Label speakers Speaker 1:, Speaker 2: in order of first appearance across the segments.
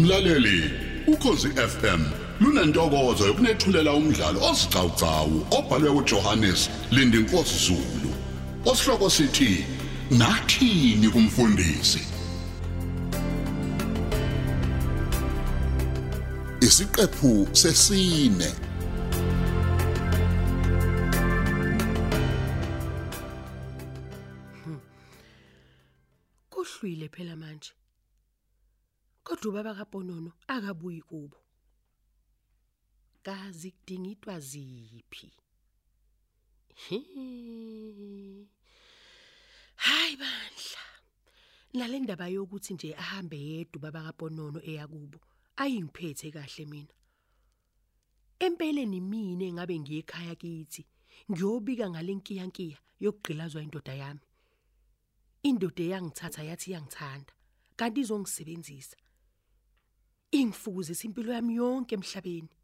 Speaker 1: Mlaleli, ukhosi FM lunantokozo yokunethulela umdlalo osiqhawqhawo obhalwe uJohannes Lindinkosi Zulu. Osihloko sithi nathini kumfundisi. Isiqephu sesine.
Speaker 2: kuhlwile phela manje kodwa ubaba kaponono akabuyi kubo kazi kudingidwa ziphi hayi bandla nale ndaba yokuthi nje ahambe yedwa ubaba kaponono eyakubo ayingiphethe kahle mina empeleni mina engabe ngiye ekhaya kithi ngiyobika ngalenkiyankiya yokugqilazwa indoda yami indoda eyangithatha yathi iyangithanda kanti izongisebenzisa ingifukuzisa impilo yami yonke emhlabeni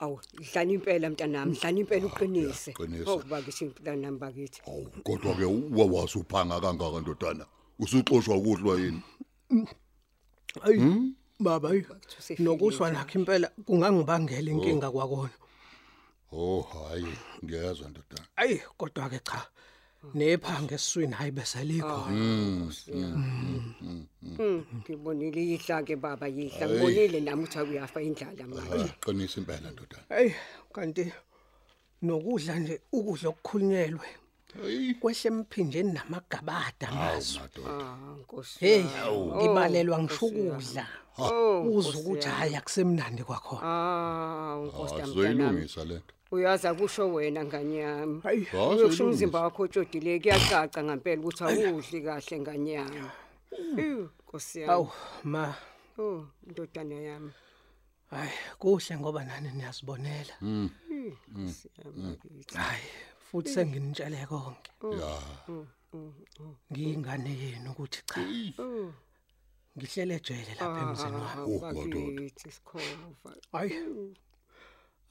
Speaker 3: Awu, dlala impela mntanami, dlala impela uqinise.
Speaker 1: uyaqinisa.
Speaker 3: bakithi mntanami bakithi.
Speaker 1: Awu kodwa ke uwawase uphanga kangaka ndodana. Usuxoshwa ukudlwa yini?
Speaker 4: Ayi baba ayi.
Speaker 3: usefile
Speaker 4: nokuhlwa lakhe impela kungangibangela inkinga kwakona.
Speaker 1: Oh hayi, ngiyazwa ndodana.
Speaker 4: Ayi kodwa ke cha. Nephange esiswini hayi bese likho.
Speaker 3: Ngibonile ihla ke baba, ihla. Ngibonile nami uthi akuyafa indlala manje.
Speaker 1: Qinisa impela ndodana.
Speaker 3: Ah.
Speaker 4: Ayi kanti nokudla nje ukudla okukhulunyelwe
Speaker 1: Hey,
Speaker 4: kwehle emphinjeni namagabada mazo.
Speaker 1: madodana.
Speaker 3: Ah, Nkosi.
Speaker 4: Hey
Speaker 3: yami.
Speaker 4: ngibalelwa
Speaker 3: Oh,
Speaker 4: ngisho
Speaker 3: Nkosi yami.
Speaker 4: ukudla.
Speaker 3: Oh,
Speaker 4: Uza
Speaker 3: Nkosi
Speaker 4: ukuthi
Speaker 3: yami.
Speaker 4: hayi akusemnandi kwakhona.
Speaker 3: Ah, Nkosi yami, mntanami.
Speaker 1: Azoyilungisa lento.
Speaker 3: Uyaza kusho wena nganyami.
Speaker 4: Hayi
Speaker 3: Uyokusho
Speaker 1: Azoyilungisa.
Speaker 3: umzimba wakho otshotile kuyacaca ngempela ukuthi awudli kahle nganyami. Ew, Nkosi yami.
Speaker 4: Mm. awu ma
Speaker 3: Oh, ndodana yami.
Speaker 4: hayi kuhle ngoba nani niyazibonela.
Speaker 3: Mm.
Speaker 1: Mm.
Speaker 3: Nkosi yami bakithi.
Speaker 4: Hayi futhi senginitshele konke.
Speaker 1: Ya.
Speaker 4: ngiyingane yenu ukuthi cha
Speaker 3: Oh.
Speaker 4: ngihlele ejele lapha emzini wami
Speaker 1: Oh,
Speaker 3: Ah, bakithi sikhova.
Speaker 4: hayi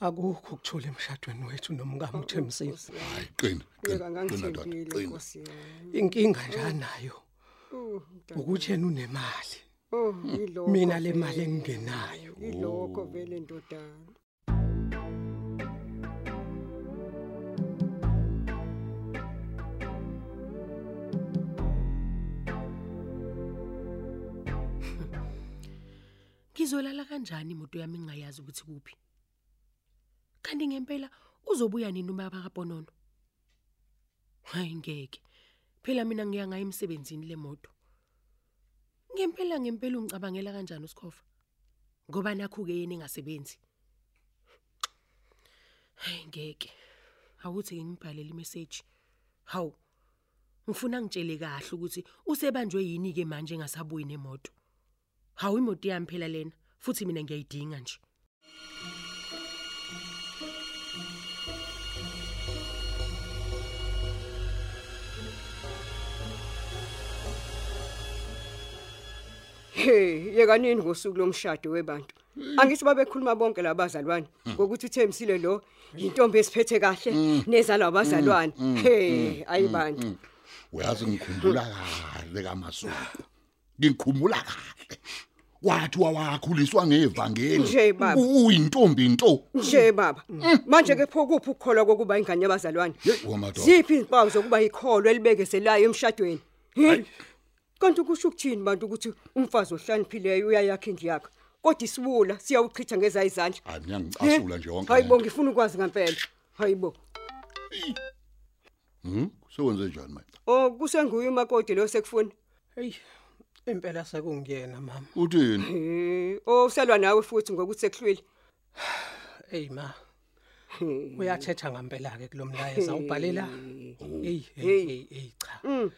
Speaker 4: akukho ukuthula emshadweni wethu nomkami uThemsisi
Speaker 1: Hayi qina.
Speaker 3: Yeka
Speaker 1: qina, Qina ndodana.
Speaker 3: ngangithembile
Speaker 1: Qina.
Speaker 3: Nkosi yami.
Speaker 4: inkinga njanayo
Speaker 3: Oh, mntanami.
Speaker 4: ukuthi yena unemali
Speaker 3: Oh, yilokho.
Speaker 4: mina le
Speaker 3: vele.
Speaker 4: mali engenayo
Speaker 3: Yilokho vele ndodana.
Speaker 2: ngizolala kanjani imoto yami ngingayazi ukuthi kuphi kanti ngempela uzobuya nini ubaba kaponono hayi ngeke phela mina ngiya ngaye emsebenzini lemoto ngempela ngempela ungicabangela kanjani usikhofa ngoba nakho ke yena engasebenzi hayi ngeke awuthi ngibhalele imeseji hawu ngifuna ngitshele kahle ukuthi usebanjwe yini ke manje engasabuyi nemoto Hawu imoto yami phela lena, futhi mina ngiyayidinga nje.
Speaker 3: Hey, yeka nini ngosuku lomshado webantu. Angithi babekhuluma bonke labazalwane ngokuthi uThemsile lo intombi esiphethe kahle nezalwa abazalwane. Hey, ayibantu.
Speaker 1: Uyazi ngikhumbula kahle kaMasuku. Ngikhumbula kahle. Wathi wawakhuliswa ngevangeli.
Speaker 3: Nje, baba.
Speaker 1: Uyintombi into.
Speaker 3: Nje baba. Manje ke pho kuphi ukukholwa kokuba ingane yabazalwane?
Speaker 1: Hey wamadoda.
Speaker 3: Ziphi izimpawu zokuba ikholo elibekezelayo emshadweni? Hmm? Kanti kusho ukuthini bantu ukuthi umfazi ohloniphileyo uyayakha indlu yakhe? Kodwa isibula siyawuchitha ngezayizandla.
Speaker 1: Hayi mina ngicasula nje wonke.
Speaker 3: Hayibo ngifuna ukwazi ngempela. Hayibo.
Speaker 1: Mhm. Sewenze njani manje?
Speaker 3: Oh kusenguye umakoti lo sekufuna.
Speaker 4: hey impela sekungiyena mama
Speaker 1: Uthini?
Speaker 3: Eh, oh uselwa nawe futhi ngokuthi sekuhlwile.
Speaker 4: hey ma uyathetha ngempela ke kulomlayeza ubhalela hey hey hey hey, cha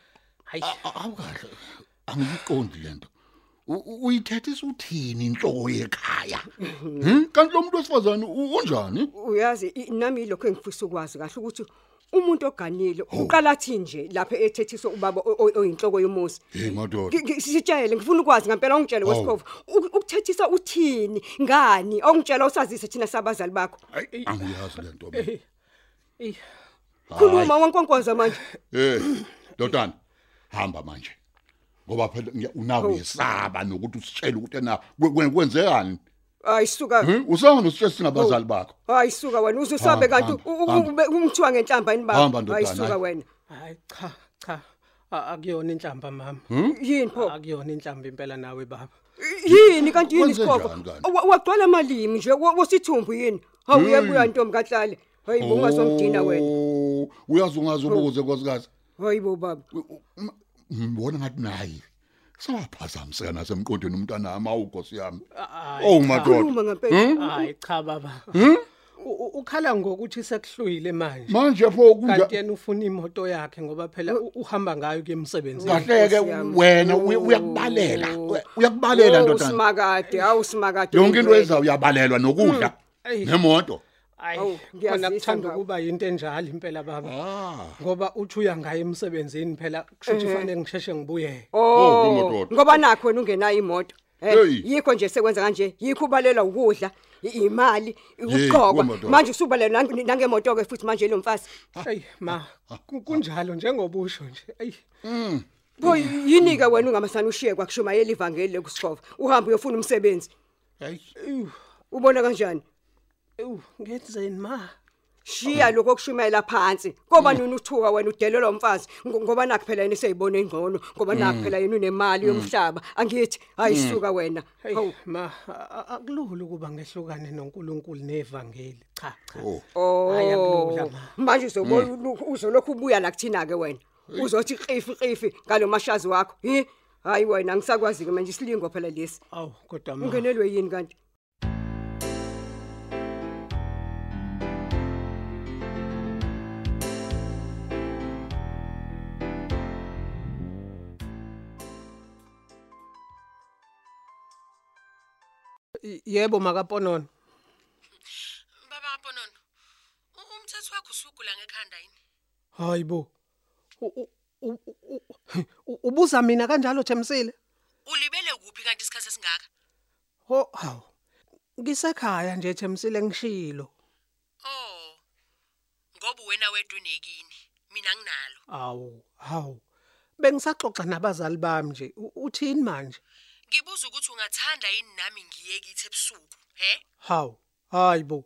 Speaker 4: hayi
Speaker 1: Awukahle. Angiyiqondi lento. U- u- Uyithethisa uthini inhloko yekhaya? Hmm? Hm? Kanti lo muntu wesifazane u- unjani?
Speaker 3: Uyazi i- nami lokho engifisa ukwazi kahle ukuthi umuntu oganile uqala athi nje lapha ethethiso ubaba o- o- oyinhloko yomusa
Speaker 1: hey madoda
Speaker 3: Ngi- ngi- sitshele ngifuna ukwazi ngempela ongitshele
Speaker 1: Hawu.
Speaker 3: wesikhovu Uk- ukuthethisa uthini ngani ongitshela usazise thina sabazali bakho
Speaker 1: Ayi, angiyazi lento mina
Speaker 4: Eh. Eh.
Speaker 3: khuluma wonkonkonza manje
Speaker 1: Eh, dotana, hamba manje. Ngoba phela ngiya- unawe yesaba nokuthi usitshele ukuthi ena kwe- kwe- kwenzekani.
Speaker 3: hayi suka
Speaker 1: Eh, Usanga nositshele sina bazali bakho.
Speaker 3: hayi suka wena
Speaker 1: Hamba,
Speaker 3: uzusabe kanti
Speaker 1: hamba, hamba.
Speaker 3: umthiwa ngenhlamba yini
Speaker 1: Hamba,
Speaker 3: baba hayi
Speaker 1: ndodana,
Speaker 3: suka
Speaker 1: hhayi.
Speaker 3: wena
Speaker 4: Hayi cha cha A- akuyona inhlamba mama.
Speaker 3: yini pho
Speaker 4: Akuyona inhlamba impela nawe baba.
Speaker 3: yini kanti yini
Speaker 1: Wenze
Speaker 3: isikhovo
Speaker 1: njani kanti?
Speaker 3: Wa- wagcwala amalimi nje wa- wasithumbu yini hawu
Speaker 1: Hey.
Speaker 3: uyabuya ntombi kahlale hayi bo ungazomdina wena
Speaker 1: Oh, Uyazi ungazi ubuze nkosikazi.
Speaker 3: hayi bo baba
Speaker 1: Ngibona ngathi naye. Sawaphazamiseka nasemqondweni umntana ama ugosi yami.
Speaker 4: Hayi.
Speaker 1: Oh madoda.
Speaker 3: khuluma ngempela
Speaker 4: Hayi cha baba. U- u- Ukhala ngokuthi sekuhluyile manje.
Speaker 1: Manje pho
Speaker 4: Kanti
Speaker 1: kunja
Speaker 4: yena ufuna imoto yakhe ngoba phela u- uhamba ngayo kuyemsebenzini.
Speaker 1: kahleke
Speaker 3: Nkosi yami.
Speaker 1: wena uya- uyakubalela.
Speaker 3: Oh.
Speaker 1: Uyakubalela
Speaker 3: Oh,
Speaker 1: ndodana.
Speaker 3: Simakade, awu simakade.
Speaker 1: Yonke into ezayo uyabalelwa nokudla
Speaker 4: Eyi.
Speaker 1: nemoto.
Speaker 3: Awu,
Speaker 4: Hayi. Kona
Speaker 3: ngiyazisa
Speaker 4: kuthanda
Speaker 3: ngawe.
Speaker 4: ukuba into enjalo impela baba.
Speaker 1: Ah.
Speaker 4: Ngoba uthi uya ngayo emsebenzini phela kushuthi fanele ngisheshe ngibuye.
Speaker 1: Oh,
Speaker 3: Oh,
Speaker 1: ngemadoda.
Speaker 3: ngoba nakho wena ungenayo imoto. Eh,
Speaker 1: Hey.
Speaker 3: Yikho nje sekwenza kanje, yikho ubalelwa ukudla, i- imali,
Speaker 1: wemadoda.
Speaker 3: ukuqhokwa. Manje usubalelwa nang- nangemoto ke futhi manje lo mfazi.
Speaker 4: Ey ma ku- kunjalo njengobusho nje. Ey
Speaker 3: Pho
Speaker 1: Hmm.
Speaker 3: yini ke wena ungamasana ushiye kwakushumayela ivangeli lokusikhova. Uhamba uyofuna umsebenzi.
Speaker 1: Hayi.
Speaker 4: ewu,
Speaker 3: Ubona kanjani?
Speaker 4: ewu ngenzeni ma?
Speaker 3: Shiya lokho kushumayela phansi. Ngoba nini uthuka wena udelelwa umfazi Ngo- ngoba nakho phela yena eseyibona ingcono, ngoba nakho phela yena unemali yomhlaba. Angithi ayisuka wena.
Speaker 4: Hey
Speaker 3: Hawu.
Speaker 4: ma a- a- akulula ukuba ngehlukane noNkulunkulu nevangeli. Cha cha.
Speaker 1: Oh.
Speaker 4: Hhayi,
Speaker 3: Oh
Speaker 4: akulula ma.
Speaker 3: manje uzobona ulokhu- uzolokhu ubuya la kuthina ke wena uzothi qifi qifi ngalomashazi wakho hi hayi wena angisakwazi ke manje isilingo phela lesi
Speaker 4: Aw kodwa ma.
Speaker 3: ungenelwe yini kanti
Speaker 4: Y- Yebo makaponono.
Speaker 2: Baba kaBonono, u- umthetho wakho usugula ngekhanda yini?
Speaker 4: Hayibo. U- u- u- u- u- Ubuza mina kanjalo Themsile?
Speaker 2: Ulibele kuphi kanti isikhathi esingaka?
Speaker 4: Ho haw. Ngisekhaya nje Themsile ngishilo.
Speaker 2: Oh. Ngoba wena wedunekini, mina nginalo.
Speaker 4: Aw haw. Bengisaxoxa nabazali bami nje. U- Uthini manje?
Speaker 2: Ngibuza ukuthi ungathanda yini nami ngiye kithi ebusuku, he?
Speaker 4: Haw. Hayibo.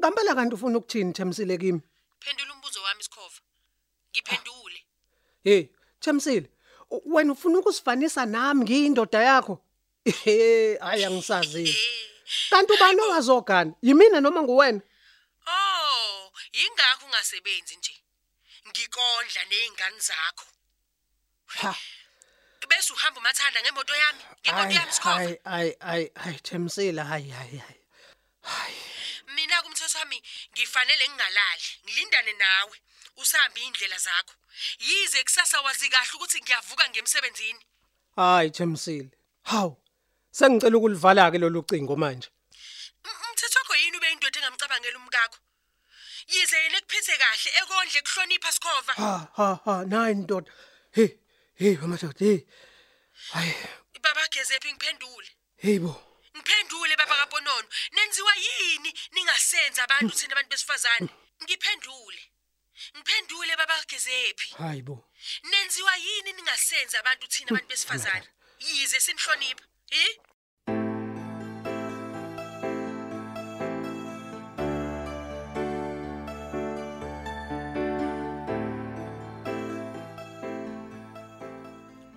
Speaker 4: Ngambela kanti ufuna ukuthini Themsile kimi?
Speaker 2: Phendula umbuzo wami isikhova. Ngiphendule.
Speaker 4: Hey, Thamsile, u- wena ufuna ukusifanisa nami ngiyindoda yakho? Eh, hayi angisazi. Kanti ubani owazogana? Yimina noma nguwena?
Speaker 2: Oh, ingakho ungasebenzi nje. Ngikondla nezingane zakho.
Speaker 4: Ha.
Speaker 2: Bese uhamba umathanda ngemoto yami, ngemoto
Speaker 4: Hayi,
Speaker 2: yami isikhova.
Speaker 4: hayi, hayi, hayi, hayi Thamsile, hayi, hayi, hayi.
Speaker 2: Mina kumthetho wami ngifanele ngingalali, ngilindane nawe. Usahamba indlela zakho. Yize kusasa wazi kahle ukuthi ngiyavuka ngemsebenzini.
Speaker 4: Hayi Thamsile. Haw. Sengicela ukulivala ke lolu cingo manje.
Speaker 2: M- Umthetho wakho yini ube indoda engamcabangela umkakho? Yize yena ekuphethe kahle, ekondle kuhlonipha sikhova.
Speaker 4: Ha, ha, ha, nayi ndoda. Hey, hey, amadoda, hey. Hayi,
Speaker 2: Baba Gezephi ngiphendule.
Speaker 4: hey bo.
Speaker 2: Ngiphendule baba kaBonono, nenziwa yini ningasenza abantu thina abantu besifazane? Ngiphendule. Ngiphendule baba Gezephi,
Speaker 4: Hayi bo.
Speaker 2: nenziwa yini ningasenza abantu thina abantu besifazane? Yize sinhlonipha. Eh?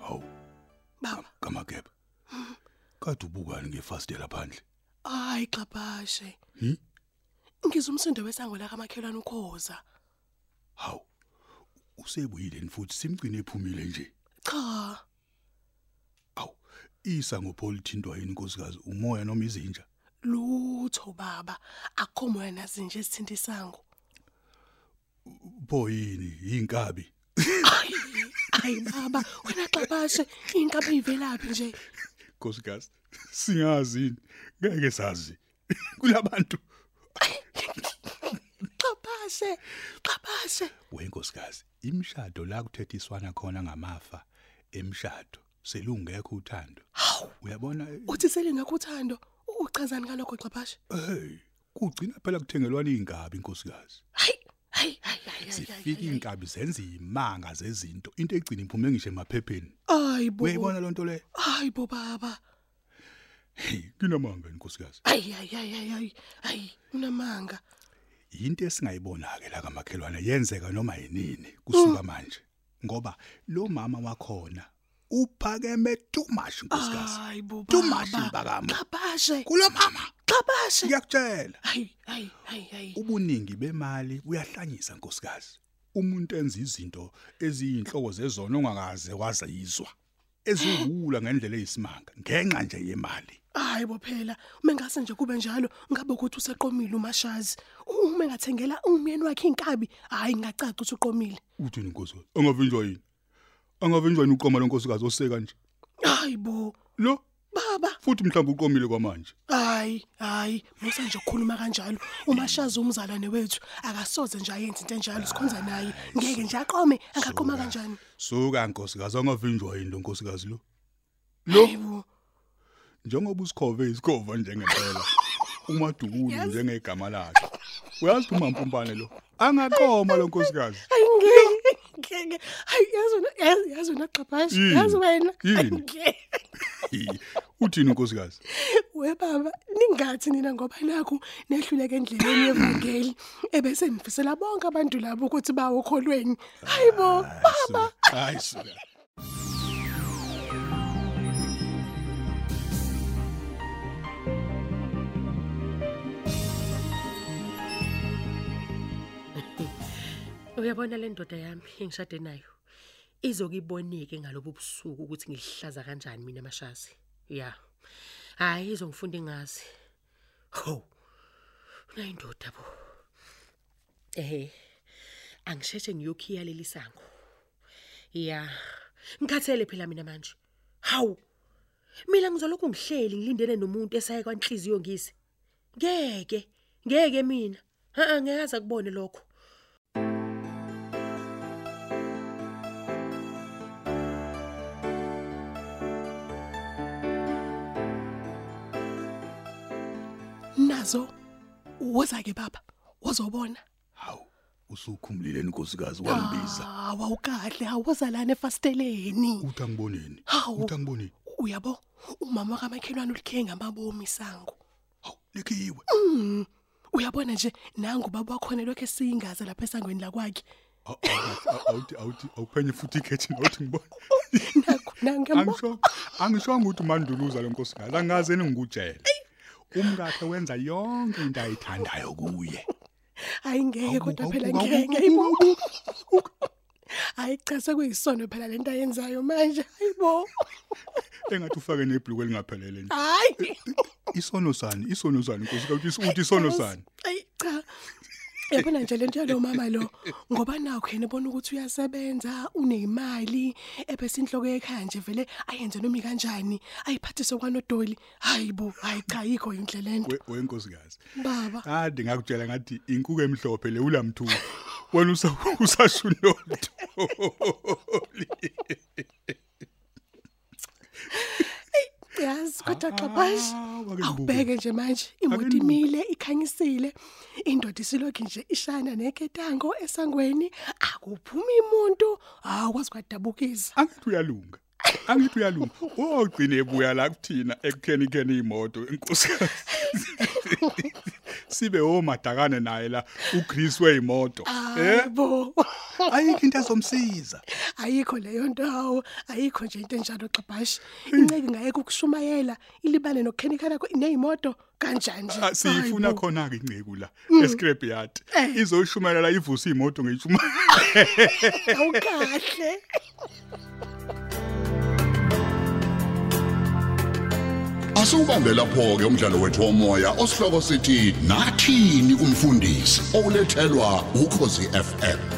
Speaker 5: Hawu. Baba, kamakebe. Kade ubukani ngefastela phandle.
Speaker 6: Hayi xabashe.
Speaker 5: Hmm?
Speaker 6: Ngizwa umsindo wesango la kamakhelwane ukhoza.
Speaker 5: Hawu. Usebuyile nifuthi simgcine ephumile nje.
Speaker 6: Cha,
Speaker 5: Awu. Isa ngopholithintwa yini nkosikazi umoya noma izinja?
Speaker 6: lutho baba. Akho moya nazi nje esithinta isango.
Speaker 5: Pho yini inkabi?
Speaker 6: Hayi baba, wena xabashe, inkabi ivelaphi nje?
Speaker 5: Nkosikazi. Singazi yini. Ngeke sazi. Kulabantu
Speaker 6: Xabashe.
Speaker 2: xabase xabase
Speaker 1: wenkosikazi imshado la kuthethiswana khona ngamafa emshado selungekho uthando uyabona
Speaker 2: uthi selingekho uthando uchazani ngalokho xabashe
Speaker 1: hey kugcina phela kuthengelwana inkabi inkosikazi
Speaker 2: hayi hayi hayi hayi
Speaker 1: zifika inkabi zenza imanga zezinto into egcina iphume ngisho emaphepheni
Speaker 2: hayibo
Speaker 1: uyayibona lonto le
Speaker 2: hayibo baba
Speaker 1: kunamanga inkosikazi
Speaker 2: hayi hayi hayi hayi hayi unamanga
Speaker 1: into esingayibona ke la kamakhelwane yenzeka noma yinini kusuka
Speaker 2: Mm.
Speaker 1: manje ngoba lo mama wakhona uphakeme too much inkosikazi
Speaker 2: hayibo
Speaker 1: too much impakama
Speaker 2: xabashe
Speaker 1: kulo mama
Speaker 2: xabashe
Speaker 1: ngiyakutshela
Speaker 2: hayi hayi hayi hayi
Speaker 1: ubuningi bemali buyahlanyisa nkosikazi umuntu enza izinto eziyinhloko zezona ongakaze wazayizwa eziwula ngendlela eyisimanga ngenxa nje yemali
Speaker 2: hayibo phela mengase nje kube njalo ngabe ukuthi useqomile umashazi uma engathengela umyeni wakhe inkabi hayi ngacaca ukuthi uqomile
Speaker 1: uthini nkosikazi angavinjwa yini angavinjwa yini uqoma lonkosikazi oseka nje
Speaker 2: hayibo
Speaker 1: lo
Speaker 2: baba
Speaker 1: futhi mhlawumbe uqomile kwamanje
Speaker 2: hayi hayi musa nje ukukhuluma kanjalo umashazi umzalwane wethu akasoze nje ayenze into enjalo sikhonza naye ngeke nje aqome angaqoma kanjani
Speaker 1: suka nkosikazi angavinjwa yini lonkosikazi lo
Speaker 2: hayibo
Speaker 1: njengoba usikhove isikhova njengempela umadukulu njengegama lakhe uyazi umampumpane lo angaqoma lonkosikazi
Speaker 2: ayingeke ngeke hayi yazona yazona xhaphashi
Speaker 1: Yini?
Speaker 2: yazi wena
Speaker 1: Yini?
Speaker 2: Ayi, ngeke.
Speaker 1: Hi, uthini nkosikazi
Speaker 2: we baba ningathi nina ngoba nakho nehluleke endleleni yevangeli ebese nifisela bonke abantu labo ukuthi bawo kholweni hayibo baba
Speaker 1: hayi suka
Speaker 7: Uyabona le ndoda yami engishade nayo. Izokiboneke ngalobu busuku ukuthi ngilihlaza kanjani mina mashazi. Ya. Hayi izongifunda ingazi. Ho. Nayindoda bo. Eh. Angisheshe ngiyokhiya leli sango. Ya. Ngikhathele phela mina manje. Hawu. Mina ngizolokhu ngihleli ngilindene nomuntu esaye kwanhliziyo ngisi. Ngeke, ngeke mina. Ha ngeke akubone lokho.
Speaker 2: nazo woza ke baba wozobona
Speaker 1: hawu usukhumulile nkosikazi wambiza
Speaker 2: awawukahle awoza lana efasteleni
Speaker 1: uthi angiboneni
Speaker 2: Ah. Hawu.
Speaker 1: uthi angiboneni
Speaker 2: uyabo umama kamakhelwane ulikhe ngamabomi sango
Speaker 1: hawu likhiwe
Speaker 2: uyabona nje nangu baba wakhona lokho esingaze lapha esangweni lakwakhe
Speaker 1: Aw- aw- awuthi awuthi awuphenye futhi ikhethi nothi ngibona
Speaker 2: nakho nangiyambona
Speaker 1: angisho angisho ukuthi manduluza lonkosikazi angaze ningikutshela umkakhe wenza yonke into ayithandayo kuye
Speaker 2: hayi ngeke
Speaker 1: Awu,
Speaker 2: kodwa
Speaker 1: awu,
Speaker 2: phela
Speaker 1: awu,
Speaker 2: ngeke ibo hayi cha sekuyisono phela lento ayenzayo manje hayibo
Speaker 1: engathi ufake nebhluku elingaphelele nje
Speaker 2: hayi
Speaker 1: isono sani isono sani nkosikazi uthi isono sani
Speaker 2: hayi cha yabona nje lento yalo mama lo ngoba nakho yena ebona ukuthi uyasebenza unemali ebese inhloko yekhaya nje vele ayenze noma ikanjani ayiphathise kwanodoli hayibo hayi cha yikho inhle lento
Speaker 1: We- wenkosikazi
Speaker 2: baba
Speaker 1: ah ndingakutshela ngathi inkuku emhlophe le ulamthuku wena usa- usashunodoli
Speaker 2: yazi kodwa xabashi
Speaker 1: Ah, ake
Speaker 2: awubheke nje manje imoto
Speaker 1: Ake ngibuke.
Speaker 2: imile ikhanyisile indoda isilokhu nje ishana neketango esangweni akuphumi imuntu akwazi kwadabukisa
Speaker 1: angithi uyalunga angithi uyalunga ogcine ebuya la kuthina ekukheni kheni imoto inkosikazi sibe omadakane naye la uChris weimoto eh
Speaker 2: yebo
Speaker 1: ayikho into ezomsiza
Speaker 2: ayikho leyo ndawo ayikho nje into enjalo xabhashi inceke ngayeke ukushumayela ilibale nokukhenikana neyimoto kanjani Mm. nje
Speaker 1: Ah, siyifuna
Speaker 2: Hayibo.
Speaker 1: khona ke inceku la escrapyard
Speaker 2: Eh.
Speaker 1: izoshumayela la ivusa imoto ngeyishuma
Speaker 2: awukahle
Speaker 8: Asubambe lapho ke umdlalo wethu womoya osihloko sithi nathini umfundisi owulethelwa ukhosi FM